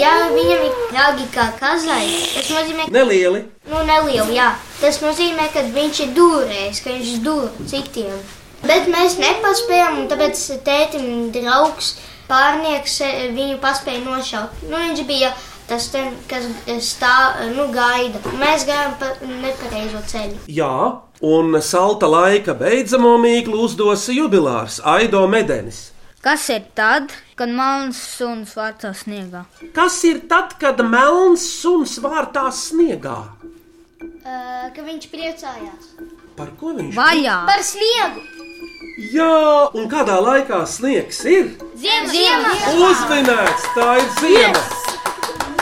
[SPEAKER 13] ja viņam ir draugi kā kazai, tas nozīmē, ka
[SPEAKER 4] Nelieli.
[SPEAKER 13] nu, nelielu, jā, tas nozīmē, ka viņš ir dūrējis, ka viņš dūr citiem. Bet mēs nepaspējām, un tāpēc tētim draugs pārnieks eh, viņu paspēja nošaut. Nu, viņš bija tas, ten, kas eh, stā, eh, nu, gaida. Mēs gājām pa nepareizo ceļu.
[SPEAKER 4] Jā, un salta laika beidzamo mīklu uzdos jubilārs Aido Medenis.
[SPEAKER 6] Kas ir tad, kad melns suns vārtā sniegā?
[SPEAKER 4] Kas ir tad, kad melns suns vārtā sniegā?
[SPEAKER 13] Uh, ka viņš priecājās
[SPEAKER 4] Par ko viņš?
[SPEAKER 13] par sniegu.
[SPEAKER 4] Jā, un kādā laikā sniegs ir?
[SPEAKER 13] Ziemā!
[SPEAKER 4] Uzminēts, tā ir ziema!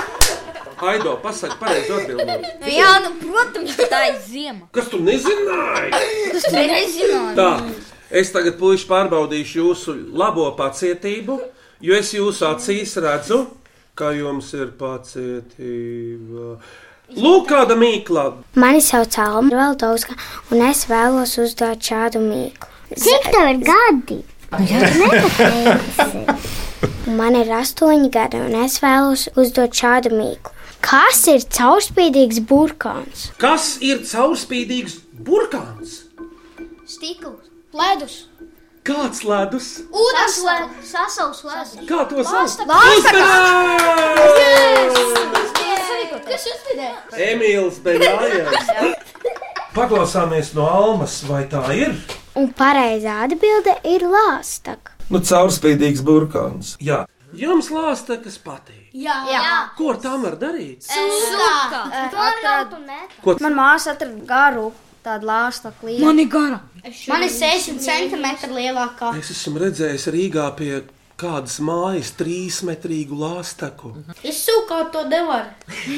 [SPEAKER 4] Aido, pasakiet, pareizi atbildēt.
[SPEAKER 6] Jā, nu, protams, tā ir ziema.
[SPEAKER 4] Kas tu nezināji?
[SPEAKER 6] Tas ir nezināms.
[SPEAKER 4] Tā, es tagad puiši pārbaudīšu jūsu labo pacietību, jo es jūsu acīs redzu, ka jums ir pacietība. Lūk, kāda mīkla!
[SPEAKER 5] Mani sauc Alma Valdovska, un es vēlos uzdot šādu mīklu.
[SPEAKER 7] Cik tev ir gadi?
[SPEAKER 14] Nu, Man ir astoņi gadi, un es vēlos uzdot šādu mīklu. Kas ir caurspīdīgs burkāns?
[SPEAKER 4] Kas ir caurspīdīgs burkāns?
[SPEAKER 17] Stikls, ledus,
[SPEAKER 4] Kāds ledus?
[SPEAKER 17] ūdens, sasaugs ledus.
[SPEAKER 4] Kā to sauc?
[SPEAKER 17] Lāsta- Lāsta-
[SPEAKER 4] Uzmanā!
[SPEAKER 17] Kas uzspīdēja?
[SPEAKER 4] Emīls Bēļājs. Paklausāmies no Almas, vai tā ir?
[SPEAKER 14] Un pareizā atbilde ir lāstak.
[SPEAKER 18] Nu, caurspīdīgs burkāns.
[SPEAKER 4] Jā. Jums lāsta, kas patīk.
[SPEAKER 14] Jā, jā.
[SPEAKER 4] Ko ar tām var darīt? Ko?
[SPEAKER 6] Ko? Man māsa atrada garu, tādu lāstu klīnu.
[SPEAKER 19] Man
[SPEAKER 6] ir gara.
[SPEAKER 19] Man ir 60 centimetri lielākā.
[SPEAKER 4] Es esmu redzējis Rīgā pie kādas mājas trīsmetrīgu lāstaku.
[SPEAKER 19] Mhm. Es sūkāju to nevaru.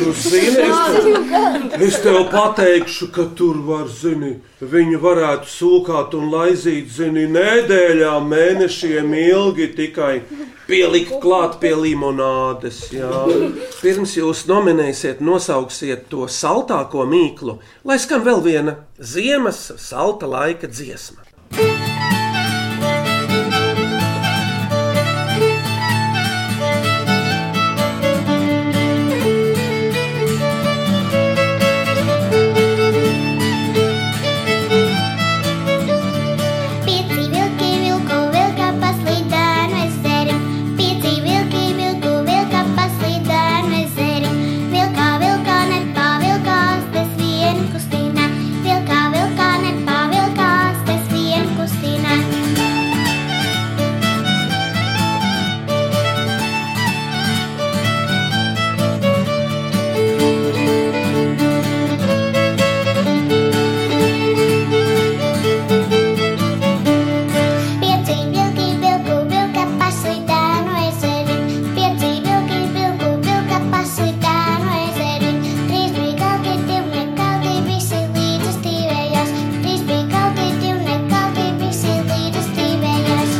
[SPEAKER 4] Tu zini, es, es tev pateikšu, ka tur var, zini, viņi varētu sūkāt un laizīt, zini, nedēļām, mēnešiem ilgi tikai pielikt klāt pie limonādes. Jā. Pirms jūs nominēsiet, nosauksiet to saltāko mīklu, lai skan vēl viena ziemas salta laika dziesma.
[SPEAKER 7] Pieci vilki vilku vilka pa slīdēm ezerim. Pieci vilki vilku vilka pa slīdēm ezerim. Vilkā vilkā nepavilkās bez viena kustīnā. Vilkā vilkā nepavilkās bez viena kustīnā. Pieci vilki vilku vilka pa slīdēm ezerim. Pieci vilki vilku vilka pa slīdēm ezerim. Trīs bija kalki, divi nekalki, visi līdzi stīvējās. Trīs bija kalki, divi nekalki, visi līdzi stīvējās.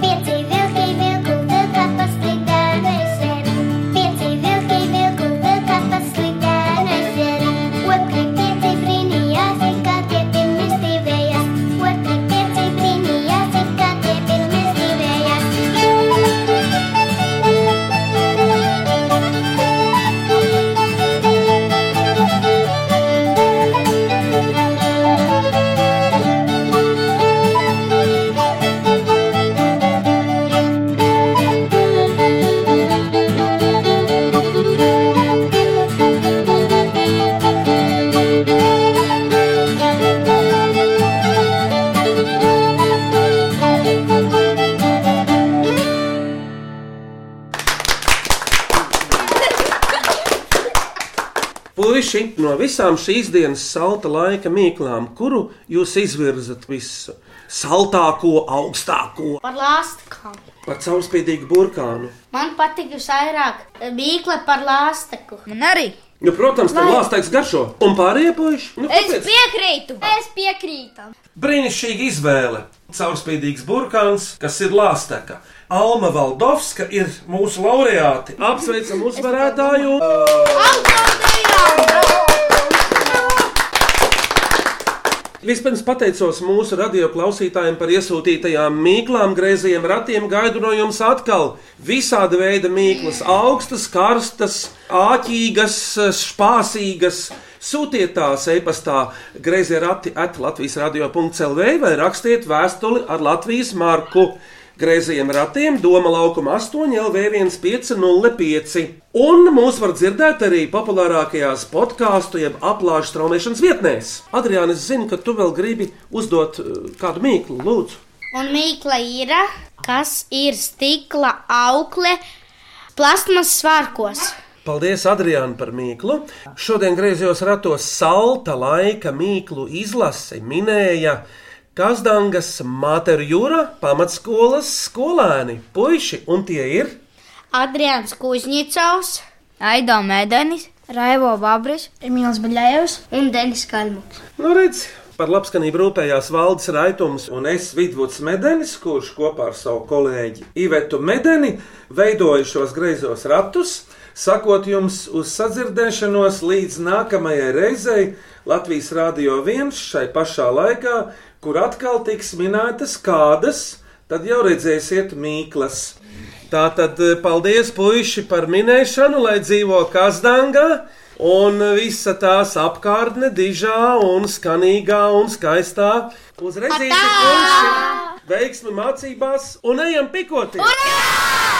[SPEAKER 7] Pieci vilki vilku vilka pa slīdēm ezerim. Pieci vilki vilku vilka pa slīdēm ezerim. Otri pieci brīnījās, kā tie pirmi stīvējās. Otri pieci brīnījās, kā tie pirmi
[SPEAKER 4] Puisi, no visām šīs dienas salta laika mīklām, kuru jūs izvirzat visu? Saltāko, augstāko,
[SPEAKER 19] Par lāstakām.
[SPEAKER 4] par caurspīdīgu burkānu.
[SPEAKER 19] Man patīk visvairāk mīkla par lāstaku. Man arī.
[SPEAKER 4] Nu, protams, tam
[SPEAKER 19] Vai-
[SPEAKER 4] lāstaiks garšo un pārēpojuši. Nu, kāpēc?
[SPEAKER 19] piekrītu. Es piekrītu.
[SPEAKER 4] Brīnišķīga izvēle. Caurspīdīgs burkāns, kas ir lāsteka. Alma Valdovska ir mūsu laureāti. Apsveicam uzvarētāju! Vispirms pateicos mūsu radio klausītājiem par iesūtītajām mīklām, grēzījiem, ratiem. Gaidu no jums atkal visāda veida mīklas, augstas, karstas, āķīgas, spāsīgas. Sūtiet tās e-pastā grēzie rati at Latvijas radio.clv vai rakstiet vēstuli ar Latvijas marku. Grēzījiem ratiem Doma laukuma 8 LV1505. Un mūs var dzirdēt arī populārākajās podkāstu jeb aplāšu straumēšanas vietnēs. Adriāna, es zinu, ka tu vēl gribi uzdot eh, kādu mīklu, lūdzu.
[SPEAKER 19] Un mīkla ir, kas ir stikla aukle plasmas svārkos.
[SPEAKER 4] Paldies, Adriāna, par mīklu. Šodien griezos ratos salta laika mīklu izlasi minēja Kazdangas Materu jūra pamatskolas skolēni, puiši, un tie ir
[SPEAKER 19] Adrians Kuzņicovs,
[SPEAKER 20] Aido Mēdenis,
[SPEAKER 6] Raivo Babris, Emīls Baļējus
[SPEAKER 19] un Denis Kalmuks.
[SPEAKER 4] Nu, redz, Par labskanību rūpējās Valdis Raitums un es Vidvuds Medenis, kurš kopā ar savu kolēģi Ivetu Medeni veidoju šos greizos ratus, sakot jums uz sadzirdēšanos līdz nākamajai reizei Latvijas Rādio 1 šai pašā laikā, kur atkal tiks minētas kādas, tad jau redzēsiet mīklas. Tā tad paldies, puiši, par minēšanu, lai dzīvo Kazdangā. Un visa tās apkārtne dižā un skanīgā un skaistā. Uzreiz puiši! Veiksmi mācībās un ejam pikoties! Urā!